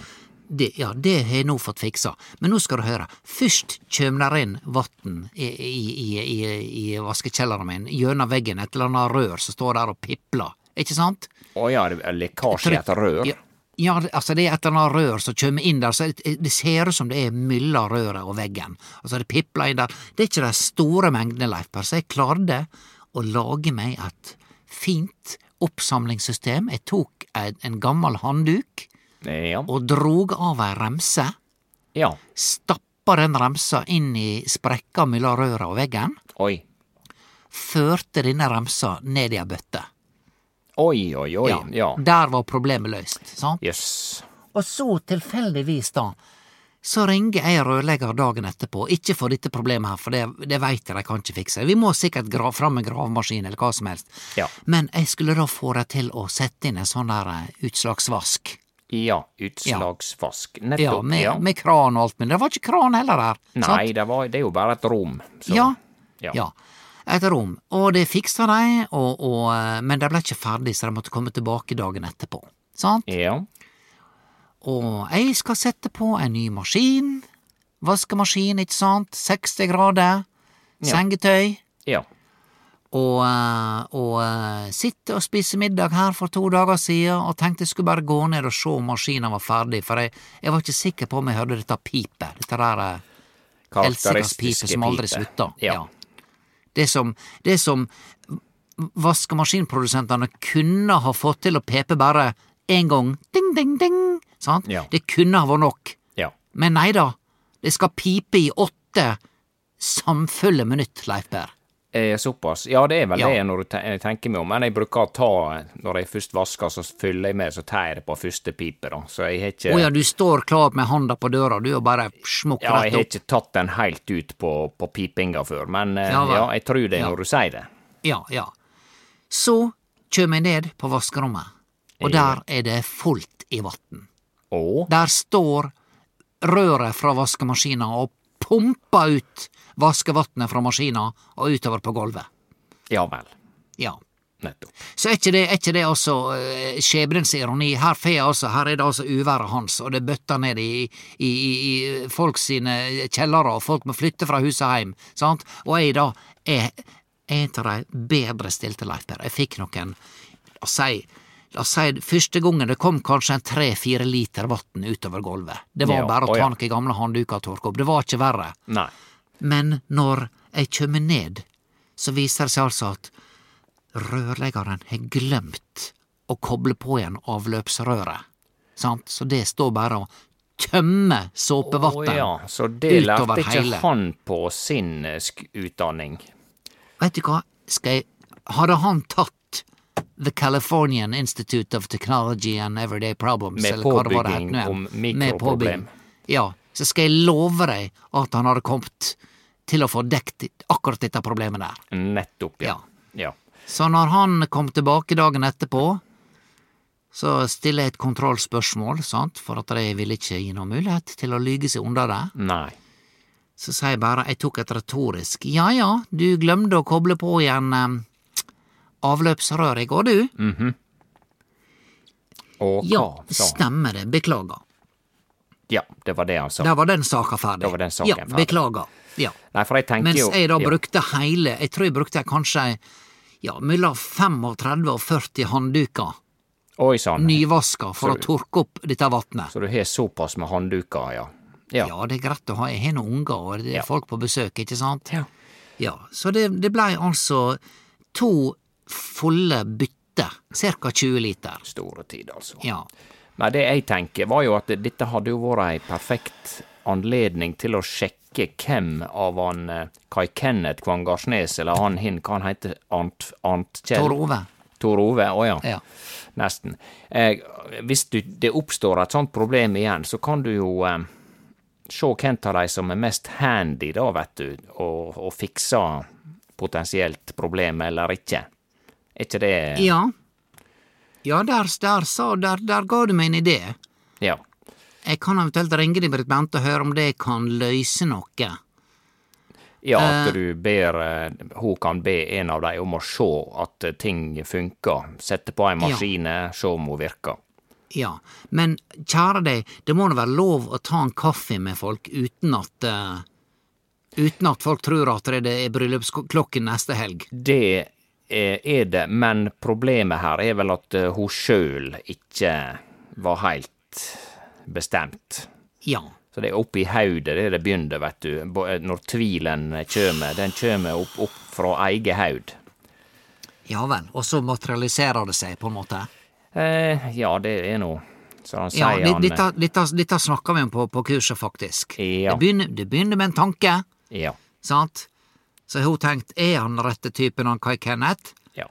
[SPEAKER 1] det, Ja, det har jeg nå fått fiksa. Men nå skal du høre. Først kjem der inn vatn i, i, i, i, i vaskekjelleren min, gjennom veggen, et eller annet rør som står der og pipler. Ikke sant?
[SPEAKER 2] Å ja, det er lekkasje i et rør.
[SPEAKER 1] Ja, ja, altså det er et eller annet rør som kjem inn der, så det, det ser ut som det er mellom røret og veggen. Altså det pipler inn der. Det er ikke de store mengdene, Leif Per, så jeg klarte å lage meg et fint oppsamlingssystem. Jeg tok en, en gammel handduk
[SPEAKER 2] Ja.
[SPEAKER 1] og drog av ei remse,
[SPEAKER 2] ja.
[SPEAKER 1] stappa den remsa inn i sprekka mellom røra og veggen,
[SPEAKER 2] Oi.
[SPEAKER 1] førte denne remsa ned i ei bøtte.
[SPEAKER 2] Oi, oi, oi. Ja.
[SPEAKER 1] Der var problemet løst. Sant?
[SPEAKER 2] Jøss.
[SPEAKER 1] Og så tilfeldigvis, da, så ringer jeg rørlegger dagen etterpå, ikke for dette problemet her, for det, det veit jeg de kan ikke fikse. Vi må sikkert gra fram en gravemaskin eller hva som helst.
[SPEAKER 2] Ja.
[SPEAKER 1] Men jeg skulle da få dem til å sette inn en sånn der eh, utslagsvask.
[SPEAKER 2] Ja, utslagsvask.
[SPEAKER 1] Ja,
[SPEAKER 2] Nettopp.
[SPEAKER 1] med,
[SPEAKER 2] Ja.
[SPEAKER 1] med kran og alt, men det var ikke kran heller der. sant?
[SPEAKER 2] Nei, det, var, det er jo bare et rom. Så.
[SPEAKER 1] Ja.
[SPEAKER 2] Ja.
[SPEAKER 1] ja. Et rom. Og det fiksa de, og, og, eh, men de ble ikke ferdig, så de måtte komme tilbake dagen etterpå. Sant?
[SPEAKER 2] Ja.
[SPEAKER 1] Og jeg skal sette på en ny maskin. Vaskemaskin, ikke sant? 60 grader. Sengetøy.
[SPEAKER 2] Ja.
[SPEAKER 1] Og, eh, og eh, sitte og spise middag her for to dager siden og tenkte jeg skulle bare gå ned og se om maskinen var ferdig, for jeg, jeg var ikke sikker på om jeg hørte dette pipet. Dette der eh, Elsikas pipe som aldri
[SPEAKER 2] pipe.
[SPEAKER 1] slutter. Ja.
[SPEAKER 2] Ja.
[SPEAKER 1] Det som, det som vaskemaskinprodusentene kunne ha fått til å pepe bare én gang, ding, ding, ding, sant?
[SPEAKER 2] Ja.
[SPEAKER 1] det kunne ha vært nok.
[SPEAKER 2] ja.
[SPEAKER 1] Men nei da, det skal pipe i åtte samfulle minutt, Leif Berr.
[SPEAKER 2] Eh, såpass. Ja, det er vel
[SPEAKER 1] Ja.
[SPEAKER 2] det når du te- jeg tenker meg om. Men jeg bruker å ta Når jeg først vasker, så fyller jeg med, så tar jeg det på første pipe, da. Så jeg har ikke
[SPEAKER 1] Å ja, du står klar med handa på døra, du, og bare smukk
[SPEAKER 2] Ja, jeg
[SPEAKER 1] rett
[SPEAKER 2] har
[SPEAKER 1] opp.
[SPEAKER 2] ikke tatt den helt ut på, på pipinga før, men eh,
[SPEAKER 1] Ja,
[SPEAKER 2] ja,
[SPEAKER 1] vel.
[SPEAKER 2] jeg tror det
[SPEAKER 1] Ja.
[SPEAKER 2] når du sier det.
[SPEAKER 1] Ja, ja. Så kjem jeg ned på vaskerommet, og der er det fullt i vann.
[SPEAKER 2] Å?
[SPEAKER 1] Der står røret fra vaskemaskina og pumper ut vaskevannet fra maskina og utover på gulvet.
[SPEAKER 2] Ja vel.
[SPEAKER 1] Ja.
[SPEAKER 2] Nettopp.
[SPEAKER 1] Så er ikke det, er ikke det altså eh, skjebnens ironi? Her, får jeg altså, her er det altså uværet hans, og det bøtter ned i, i, i, i folk sine kjellere, og folk må flytte fra huset hjem, sant? Og jeg da er er en av de bedre stilte, Leif Per. Jeg fikk noen La oss si La oss si første gangen det kom kanskje en tre-fire liter vann utover gulvet. Det var
[SPEAKER 2] Ja,
[SPEAKER 1] bare å
[SPEAKER 2] å
[SPEAKER 1] ta
[SPEAKER 2] ja.
[SPEAKER 1] noen gamle handduker og tørke opp. Det var ikke verre.
[SPEAKER 2] Nei.
[SPEAKER 1] Men når jeg kjem ned, så viser det seg altså at rørleggeren har glemt å koble på igjen avløpsrøret. Sant? Så det står bare og tømmer
[SPEAKER 2] Å
[SPEAKER 1] såpevannet.
[SPEAKER 2] ja, så det
[SPEAKER 1] utover
[SPEAKER 2] lærte ikke
[SPEAKER 1] hele.
[SPEAKER 2] han på sin eh, sk utdanning.
[SPEAKER 1] Vet du hva, skal jeg Hadde han tatt The Californian Institute of Technology and Everyday Problems,
[SPEAKER 2] Med
[SPEAKER 1] eller hva det var det het
[SPEAKER 2] påbygging
[SPEAKER 1] nå igjen,
[SPEAKER 2] om
[SPEAKER 1] med
[SPEAKER 2] mikroproblem.
[SPEAKER 1] påbygging, Ja, så skal jeg love deg at han hadde kommet til å få dekt akkurat dette problemet der.
[SPEAKER 2] Nettopp, ja.
[SPEAKER 1] Ja.
[SPEAKER 2] Ja.
[SPEAKER 1] Så når han kom tilbake dagen etterpå, så stiller jeg et kontrollspørsmål, sant, for at de ville ikke gi noen mulighet til å lyge seg unna det.
[SPEAKER 2] Nei.
[SPEAKER 1] Så sa jeg bare, jeg tok et retorisk ja ja, du glemte å koble på igjen eh, avløpsrøret i går, du.
[SPEAKER 2] Og hva,
[SPEAKER 1] Ja,
[SPEAKER 2] Mm, sa han?
[SPEAKER 1] stemmer det, beklager.
[SPEAKER 2] Ja, det var det han sa.
[SPEAKER 1] Der var den saka ferdig.
[SPEAKER 2] Da var den saken
[SPEAKER 1] ja,
[SPEAKER 2] ferdig.
[SPEAKER 1] Beklager. Ja.
[SPEAKER 2] Nei, for jeg tenker
[SPEAKER 1] Mens
[SPEAKER 2] jo
[SPEAKER 1] jeg da
[SPEAKER 2] ja,
[SPEAKER 1] brukte hele Jeg tror jeg brukte kanskje ja, mellom 35 og 40 handduker
[SPEAKER 2] Oi sann.
[SPEAKER 1] nyvaska for å tørke opp dette vatnet.
[SPEAKER 2] Så du har såpass med handduker, ja.
[SPEAKER 1] Ja.
[SPEAKER 2] Ja.
[SPEAKER 1] det er greit å ha. Jeg har noen unger, og det er
[SPEAKER 2] Ja.
[SPEAKER 1] folk på besøk, ikke sant?
[SPEAKER 2] Ja.
[SPEAKER 1] Ja, Så det, det blei altså to fulle bytter, ca. 20 liter.
[SPEAKER 2] Store tid, altså.
[SPEAKER 1] Ja.
[SPEAKER 2] Nei, det jeg tenker var jo at dette hadde jo vært ei perfekt anledning til å sjekke hvem av han eh, Kai Kenneth Kvangarsnes, eller han hin, hva han heter, Arnt, Arnt Kjell?
[SPEAKER 1] Tor Ove.
[SPEAKER 2] Tor Ove, å ja.
[SPEAKER 1] Ja.
[SPEAKER 2] Nesten. Eh, hvis du, det oppstår et sånt problem igjen, så kan du jo eh, se hvem av de som er mest handy, da, vet du, og, og fikse potensielt problem eller ikke. Er ikke det
[SPEAKER 1] Ja, ja der, der, sa, der, der ga du meg en idé.
[SPEAKER 2] Ja.
[SPEAKER 1] Jeg kan eventuelt ringe deg, Britt Bente, og høre om det kan løse noe.
[SPEAKER 2] Ja, at du ber eh, Hun kan be en av dem om å se at eh, ting funker. Sette på ei maskine, se om hun virker.
[SPEAKER 1] Ja, men kjære deg, det må da være lov å ta en kaffe med folk uten at eh, Uten at folk tror at det er bryllupsklokken neste helg.
[SPEAKER 2] Det eh, er det, men problemet her er vel at eh, hun sjøl ikke var heilt bestemt.
[SPEAKER 1] Ja.
[SPEAKER 2] Så det er oppi hodet det det begynner, vet du. bo- eh, Når tvilen kjem. Den kjem opp, opp fra eige haud.
[SPEAKER 1] Ja vel. Og så materialiserer det seg, på en måte.
[SPEAKER 2] Eh, ja, det er nå Så han
[SPEAKER 1] Ja,
[SPEAKER 2] sier
[SPEAKER 1] det-
[SPEAKER 2] han eh,
[SPEAKER 1] dette- Dette dette snakker vi om på, på kurset, faktisk.
[SPEAKER 2] Ja.
[SPEAKER 1] Det, begynner, det begynner med en tanke,
[SPEAKER 2] eh, Ja.
[SPEAKER 1] sant? Så har hun tenkt er han rette typen, han Kai Kenneth?
[SPEAKER 2] Ja.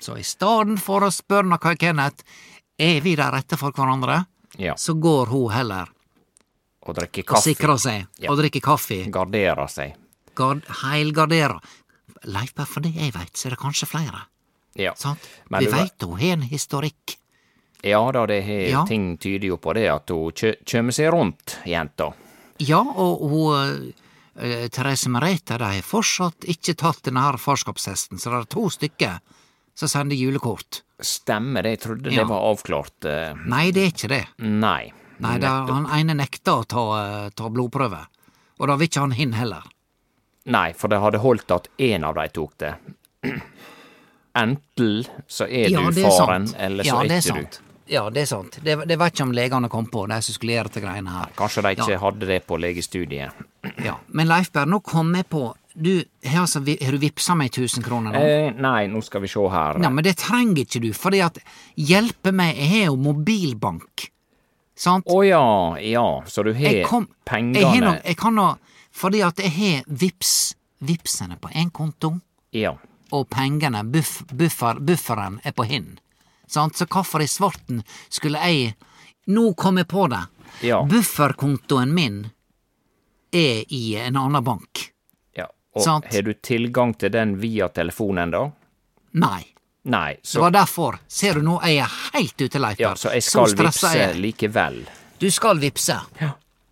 [SPEAKER 1] Så i stedet for å spørre han Kai Kenneth er vi de rette for hverandre,
[SPEAKER 2] ja.
[SPEAKER 1] så går hun heller
[SPEAKER 2] Og drikke
[SPEAKER 1] og
[SPEAKER 2] kaffe.
[SPEAKER 1] sikrer seg
[SPEAKER 2] Ja.
[SPEAKER 1] og drikker kaffe.
[SPEAKER 2] Gardere seg.
[SPEAKER 1] Gard, heilgarderer. Leif, bare for det jeg veit, så er det kanskje flere.
[SPEAKER 2] Ja.
[SPEAKER 1] Sant?
[SPEAKER 2] Men
[SPEAKER 1] Vi
[SPEAKER 2] du-
[SPEAKER 1] veit hun har en historikk.
[SPEAKER 2] Ja da, det har
[SPEAKER 1] Ja.
[SPEAKER 2] ting tyder jo på det, at hun kjø- kjem seg rundt, jenta.
[SPEAKER 1] Ja, og hun eh, Therese Merete de har fortsatt ikke tatt denne her farskapshesten, så det er to stykker som sender julekort.
[SPEAKER 2] Stemmer det, jeg trodde
[SPEAKER 1] Ja.
[SPEAKER 2] det var avklart. eh,
[SPEAKER 1] Nei, det er ikke det.
[SPEAKER 2] Nei.
[SPEAKER 1] Nei, det er, Han ene nekter å ta, eh, ta blodprøve, og det vil ikke han hin heller.
[SPEAKER 2] Nei, for det hadde holdt at én av dei tok det. Enten så er
[SPEAKER 1] Ja,
[SPEAKER 2] du
[SPEAKER 1] det er
[SPEAKER 2] faren,
[SPEAKER 1] sant.
[SPEAKER 2] eller
[SPEAKER 1] ja,
[SPEAKER 2] så er
[SPEAKER 1] det
[SPEAKER 2] ikke
[SPEAKER 1] er sant. Ja, det er sant. Det, det var ikke om legene kom på, de som skulle gjøre dette greiene her.
[SPEAKER 2] du. Kanskje de ikke hadde det på legestudiet.
[SPEAKER 1] Ja, Men Leifberg, nå kom jeg på Du, her, altså, vi- har du vippsa meg 1000 kroner nå?
[SPEAKER 2] Eh, nei, nå skal vi sjå her.
[SPEAKER 1] Nei, men det trenger ikke du, fordi at Hjelpe meg, jeg har jo mobilbank. Sant?
[SPEAKER 2] Å ja, ja, så du
[SPEAKER 1] jeg
[SPEAKER 2] har
[SPEAKER 1] kom jeg, har
[SPEAKER 2] pengene
[SPEAKER 1] nok, jeg kan nå Fordi at jeg har vips Vipsene på én konto,
[SPEAKER 2] Ja.
[SPEAKER 1] og pengene, buff, buffer, bufferen, er på hin. Sant? Så hvorfor i svarten skulle jeg Nå kom jeg på det.
[SPEAKER 2] Ja.
[SPEAKER 1] Bufferkontoen min er i en annen bank.
[SPEAKER 2] ja. Og
[SPEAKER 1] Sant.
[SPEAKER 2] har du tilgang til den via telefonen, da?
[SPEAKER 1] Nei.
[SPEAKER 2] Nei,
[SPEAKER 1] Det
[SPEAKER 2] så
[SPEAKER 1] var derfor. Ser du nå, jeg er helt ute, Leif.
[SPEAKER 2] Ja,
[SPEAKER 1] Berr.
[SPEAKER 2] så jeg skal
[SPEAKER 1] stressa
[SPEAKER 2] vippse
[SPEAKER 1] jeg.
[SPEAKER 2] likevel.
[SPEAKER 1] Du skal vippse.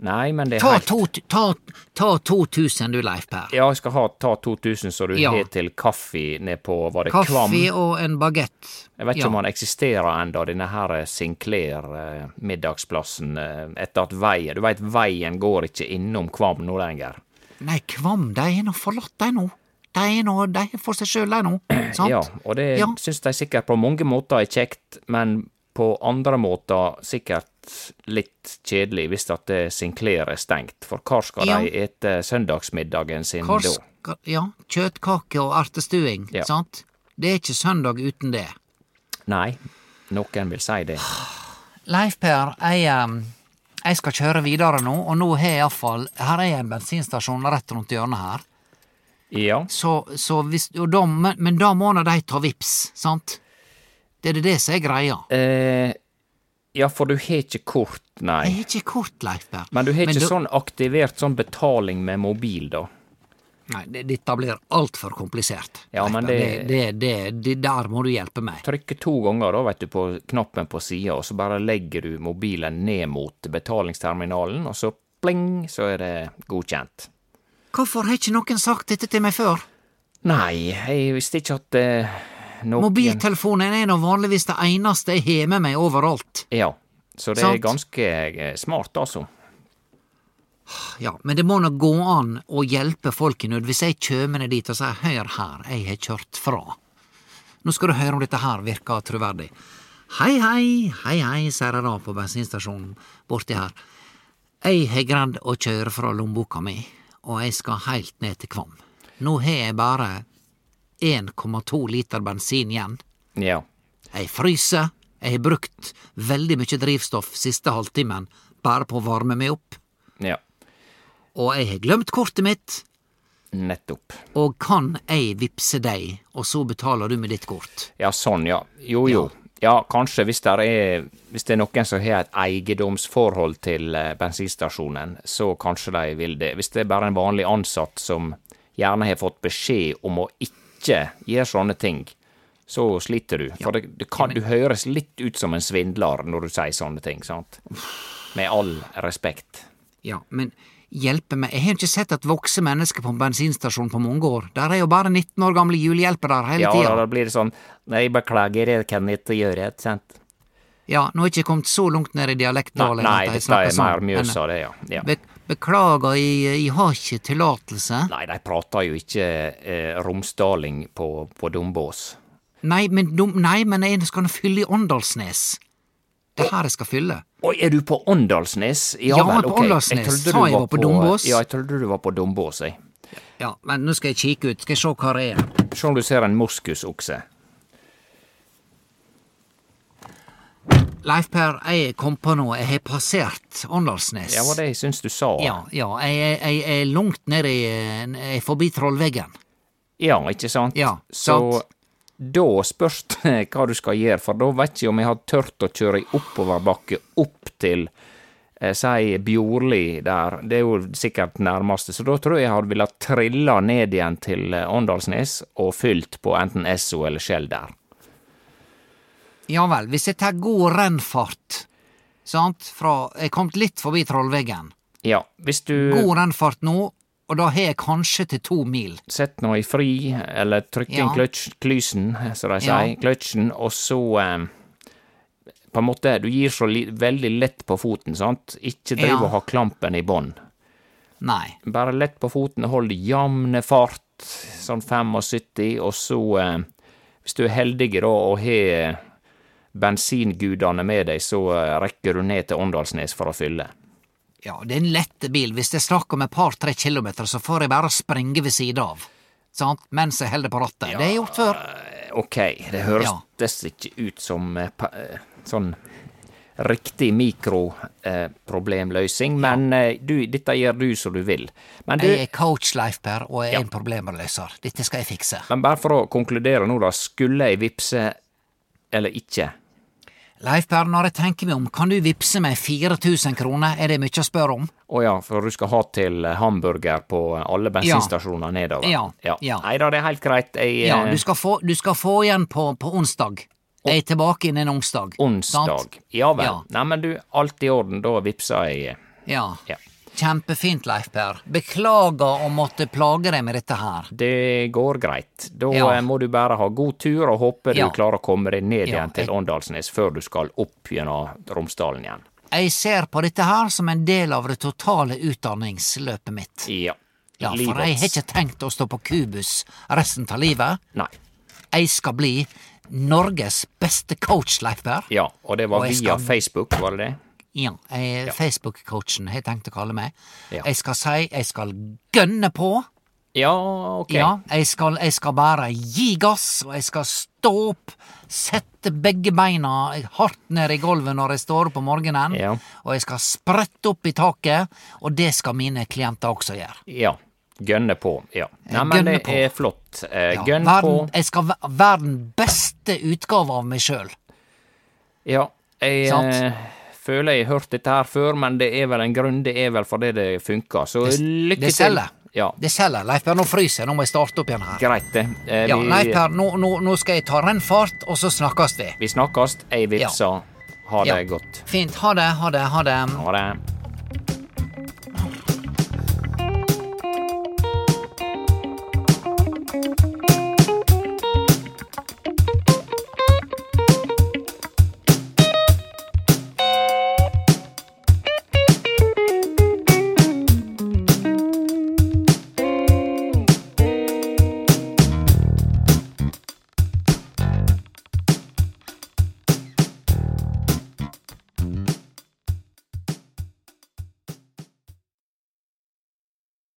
[SPEAKER 2] Nei, men det er
[SPEAKER 1] Ta,
[SPEAKER 2] helt
[SPEAKER 1] to, ta, ta 2000 du, Leif Per.
[SPEAKER 2] Ja, jeg skal ha, ta 2000 som du
[SPEAKER 1] Ja.
[SPEAKER 2] har til kaffe ned på Var det Kvam?
[SPEAKER 1] Kaffe og en bagett.
[SPEAKER 2] Jeg vet ikke
[SPEAKER 1] ja.
[SPEAKER 2] om han eksisterer ennå, denne her eh, Sinclair eh, middagsplassen eh, etter at veien Du veit veien går ikke innom Kvam nå lenger.
[SPEAKER 1] Nei, Kvam, de er nå forlatt, de nå. De er nå, de er for seg sjøl, de nå.
[SPEAKER 2] [CLEARS THROAT]
[SPEAKER 1] Sant?
[SPEAKER 2] Ja, og det
[SPEAKER 1] Ja.
[SPEAKER 2] syns de sikkert på mange måter er kjekt, men på andre måter sikkert litt kjedelig hvis at eh, Sinclair er stengt. For hvor skal
[SPEAKER 1] Ja.
[SPEAKER 2] de ete søndagsmiddagen sin
[SPEAKER 1] Hva
[SPEAKER 2] da?
[SPEAKER 1] skal- ja, kjøttkake og ertestuing,
[SPEAKER 2] Ja.
[SPEAKER 1] sant? Det er ikke søndag uten det.
[SPEAKER 2] Nei, noen vil si det.
[SPEAKER 1] Leif Per, jeg, em, jeg skal kjøre videre nå, og nå har jeg iallfall Her er en bensinstasjon rett rundt hjørnet her.
[SPEAKER 2] Ja.
[SPEAKER 1] Så, så hvis, og da, men, men da må nå de ta vips, sant? Det er det som er greia.
[SPEAKER 2] Eh, ja, for du har ikke kort,
[SPEAKER 1] Jeg
[SPEAKER 2] nei.
[SPEAKER 1] har ikke kort, Leif Per.
[SPEAKER 2] Men du har ikke
[SPEAKER 1] Eh, da-
[SPEAKER 2] sånn aktivert sånn betaling med mobil, da.
[SPEAKER 1] Nei, det- dette blir altfor komplisert.
[SPEAKER 2] Ja,
[SPEAKER 1] Leif
[SPEAKER 2] men
[SPEAKER 1] Per.
[SPEAKER 2] det-
[SPEAKER 1] Det, det, det, det Der må du hjelpe meg.
[SPEAKER 2] Trykke to ganger, da, vet du, på knappen på sida, og så bare legger du mobilen ned mot betalingsterminalen, og så pling, så er det godkjent.
[SPEAKER 1] Hvorfor har ikke noen sagt dette til meg før?
[SPEAKER 2] Nei, jeg visste ikke at eh, noen
[SPEAKER 1] Mobiltelefonen er nå vanligvis det eneste jeg har med meg overalt.
[SPEAKER 2] Ja. Så det
[SPEAKER 1] Sant.
[SPEAKER 2] er ganske eh, smart, altså.
[SPEAKER 1] Ja, men det må nå gå an å hjelpe folk i nød. Hvis jeg kjem ned dit og sier 'hør her, jeg har kjørt fra', nå skal du høre om dette her virker troverdig. Hei, hei, hei, hei, sier jeg da på bensinstasjonen borti her. Jeg har greid å kjøre fra lommeboka mi, og jeg skal heilt ned til Kvam. Nå har jeg bare 1,2 liter bensin igjen.
[SPEAKER 2] Ja.
[SPEAKER 1] Jeg fryser, jeg har brukt veldig mye drivstoff siste halvtimen bare på å varme meg opp,
[SPEAKER 2] Ja.
[SPEAKER 1] og jeg har glemt kortet mitt.
[SPEAKER 2] Nettopp.
[SPEAKER 1] Og kan jeg vippse deg, og så betaler du med ditt kort?
[SPEAKER 2] Ja, sånn, ja. Jo, jo. Ja, kanskje hvis det er, hvis det er noen som har et eiendomsforhold til eh, bensinstasjonen, så kanskje de vil det. Hvis det er bare en vanlig ansatt som gjerne har fått beskjed om å ikke gjøre sånne ting, så sliter du. For det, det kan, du høres litt ut som en svindler når du sier sånne ting, sant? Med all respekt.
[SPEAKER 1] Ja, men hjelpe meg, jeg har ikke sett et vokse menneske på en bensinstasjon på mange år. Der er jo bare 19 år gamle julehjelper der hele
[SPEAKER 2] Ja, da,
[SPEAKER 1] tida.
[SPEAKER 2] da blir det sånn Nei, beklager, jeg kan ikke gjøre det, sant?
[SPEAKER 1] Ja, nå har jeg ikke kommet så langt ned i dialekten.
[SPEAKER 2] Nei,
[SPEAKER 1] Ole,
[SPEAKER 2] nei,
[SPEAKER 1] at jeg
[SPEAKER 2] dette
[SPEAKER 1] snakker
[SPEAKER 2] er
[SPEAKER 1] sånn,
[SPEAKER 2] mer Mjøsa, det, ja. ja.
[SPEAKER 1] men, eh, Be beklager, jeg, jeg har ikke tillatelse.
[SPEAKER 2] Nei, de prater jo ikke eh, romsdaling på, på Dombås.
[SPEAKER 1] Nei, men, dum- nei, men jeg skal nå fylle i Åndalsnes. Det er her jeg skal fylle.
[SPEAKER 2] Oi, er du på Åndalsnes?
[SPEAKER 1] Ja,
[SPEAKER 2] vel,
[SPEAKER 1] på
[SPEAKER 2] ok.
[SPEAKER 1] Åndalsnes.
[SPEAKER 2] trodde du
[SPEAKER 1] Sa jeg var på Dombås?
[SPEAKER 2] Ja, jeg trodde du var på Dombås, jeg.
[SPEAKER 1] Ja, men nå skal jeg kikke ut, skal jeg se hva det er.
[SPEAKER 2] Se om du ser en moskusokse.
[SPEAKER 1] Leif Per, jeg kom på nå, jeg har passert Åndalsnes.
[SPEAKER 2] Ja, var det jeg syns du sa.
[SPEAKER 1] Ja, ja. Jeg, jeg, jeg er langt nede i jeg er forbi trollveggen.
[SPEAKER 2] Ja, ikke sant?
[SPEAKER 1] Ja,
[SPEAKER 2] Så
[SPEAKER 1] sant.
[SPEAKER 2] da spørs det [LAUGHS] hva du skal gjøre, for da vet ikke om jeg har tørt å kjøre i oppoverbakke opp til eh, si Bjorli der, det er jo sikkert nærmeste, så da tror jeg jeg hadde villet trilla ned igjen til eh, Åndalsnes og fylt på enten Esso eller Skjell der.
[SPEAKER 1] Ja vel, hvis jeg tar god rennfart, sant, fra Jeg kom litt forbi trollveggen.
[SPEAKER 2] Ja, hvis du
[SPEAKER 1] God rennfart nå, og da har jeg kanskje til to mil.
[SPEAKER 2] setter noe i fri, eller trykker
[SPEAKER 1] Ja.
[SPEAKER 2] inn kløtsj, klysen, som de
[SPEAKER 1] Ja.
[SPEAKER 2] sier, kløtsjen, og så eh, på en måte, Du gir så li veldig lett på foten, sant? Ikke driv
[SPEAKER 1] Ja.
[SPEAKER 2] og ha klampen i bånd.
[SPEAKER 1] Nei.
[SPEAKER 2] Bare lett på foten, hold jamne fart, sånn 75, og så, eh, hvis du er heldig da og har bensingudene med deg, så eh, rekker du ned til Åndalsnes for å fylle.
[SPEAKER 1] Ja, det er en lett bil. Hvis det er snakk om et par-tre kilometer, så får jeg bare springe ved sida av. Sant? Mens jeg holder på rattet. Det har jeg gjort før.
[SPEAKER 2] Eh, Ok, det høres
[SPEAKER 1] Ja.
[SPEAKER 2] dess ikke ut som eh, pa- eh, sånn riktig mikroproblemløsning, men eh, du, dette gjør du som du vil. Men du,
[SPEAKER 1] Jeg er coach, Leif Per, og jeg er en problemløser. Dette skal jeg fikse.
[SPEAKER 2] men bare for å konkludere nå, da, skulle jeg vippse eller ikke?
[SPEAKER 1] Leif Per, når jeg tenker meg om, kan du vippse meg 4000 kroner? Er det mye å spørre om?
[SPEAKER 2] Å ja, for du skal ha til eh, hamburger på eh, alle bensinstasjoner nedover?
[SPEAKER 1] Ja, ja.
[SPEAKER 2] Nei da, det er helt greit. Jeg,
[SPEAKER 1] Ja,
[SPEAKER 2] eh,
[SPEAKER 1] du skal få, du skal få igjen på, på onsdag. Jeg er tilbake innen onsdag. Sant?
[SPEAKER 2] Onsdag. Ja vel.
[SPEAKER 1] Ja.
[SPEAKER 2] Nei, men du, alt i orden. Da vippsa jeg eh,
[SPEAKER 1] Ja.
[SPEAKER 2] Ja.
[SPEAKER 1] Kjempefint, Leif Per. Beklager å måtte plage deg med dette her.
[SPEAKER 2] Det går greit. Da
[SPEAKER 1] Ja.
[SPEAKER 2] eh, må du bare ha god tur, og håper
[SPEAKER 1] Ja.
[SPEAKER 2] du klarer å komme deg ned
[SPEAKER 1] Ja,
[SPEAKER 2] igjen til
[SPEAKER 1] jeg-
[SPEAKER 2] Åndalsnes før du skal opp gjennom Romsdalen igjen.
[SPEAKER 1] Jeg ser på dette her som en del av det totale utdanningsløpet mitt.
[SPEAKER 2] Ja.
[SPEAKER 1] Ja, for jeg har
[SPEAKER 2] Livets
[SPEAKER 1] ikke tenkt å stå på kubus resten av livet.
[SPEAKER 2] Nei.
[SPEAKER 1] Jeg skal bli Norges beste coach, Leif Per.
[SPEAKER 2] Ja, og det var
[SPEAKER 1] Og jeg
[SPEAKER 2] via
[SPEAKER 1] skal-
[SPEAKER 2] Facebook, var det det?
[SPEAKER 1] Ja, jeg er Facebook-coachen, har jeg tenkt å kalle meg.
[SPEAKER 2] Ja.
[SPEAKER 1] Jeg skal si jeg skal gønne på.
[SPEAKER 2] Ja, ok.
[SPEAKER 1] Ja, jeg skal, jeg skal bare gi gass, og jeg skal stå opp, sette begge beina hardt ned i gulvet når jeg står opp om morgenen,
[SPEAKER 2] Ja.
[SPEAKER 1] og jeg skal sprette opp i taket, og det skal mine klienter også gjøre.
[SPEAKER 2] Ja. Gønne på. Ja. Nei,
[SPEAKER 1] gønner
[SPEAKER 2] men det
[SPEAKER 1] Eh, på.
[SPEAKER 2] er flott. Eh,
[SPEAKER 1] Ja,
[SPEAKER 2] Gønn på.
[SPEAKER 1] verden, jeg skal væ- være den beste utgave av meg sjøl.
[SPEAKER 2] Ja, jeg
[SPEAKER 1] Sant?
[SPEAKER 2] eh, føler jeg har hørt dette her før, men det er vel en grunn. Det er vel fordi det funker. Så
[SPEAKER 1] Det-
[SPEAKER 2] lykke
[SPEAKER 1] det
[SPEAKER 2] til.
[SPEAKER 1] selger.
[SPEAKER 2] Ja,
[SPEAKER 1] Det selger. Leif Per, nå fryser jeg, nå må jeg starte opp igjen her.
[SPEAKER 2] greit det. Eh,
[SPEAKER 1] Ja,
[SPEAKER 2] vi-
[SPEAKER 1] Leif Per, nå, nå, nå skal jeg ta rennfart, og så snakkes vi.
[SPEAKER 2] Vi snakkes. Jeg vipser. Ha det
[SPEAKER 1] Ja.
[SPEAKER 2] godt.
[SPEAKER 1] Fint. Ha det, ha det, ha det.
[SPEAKER 2] Ha det.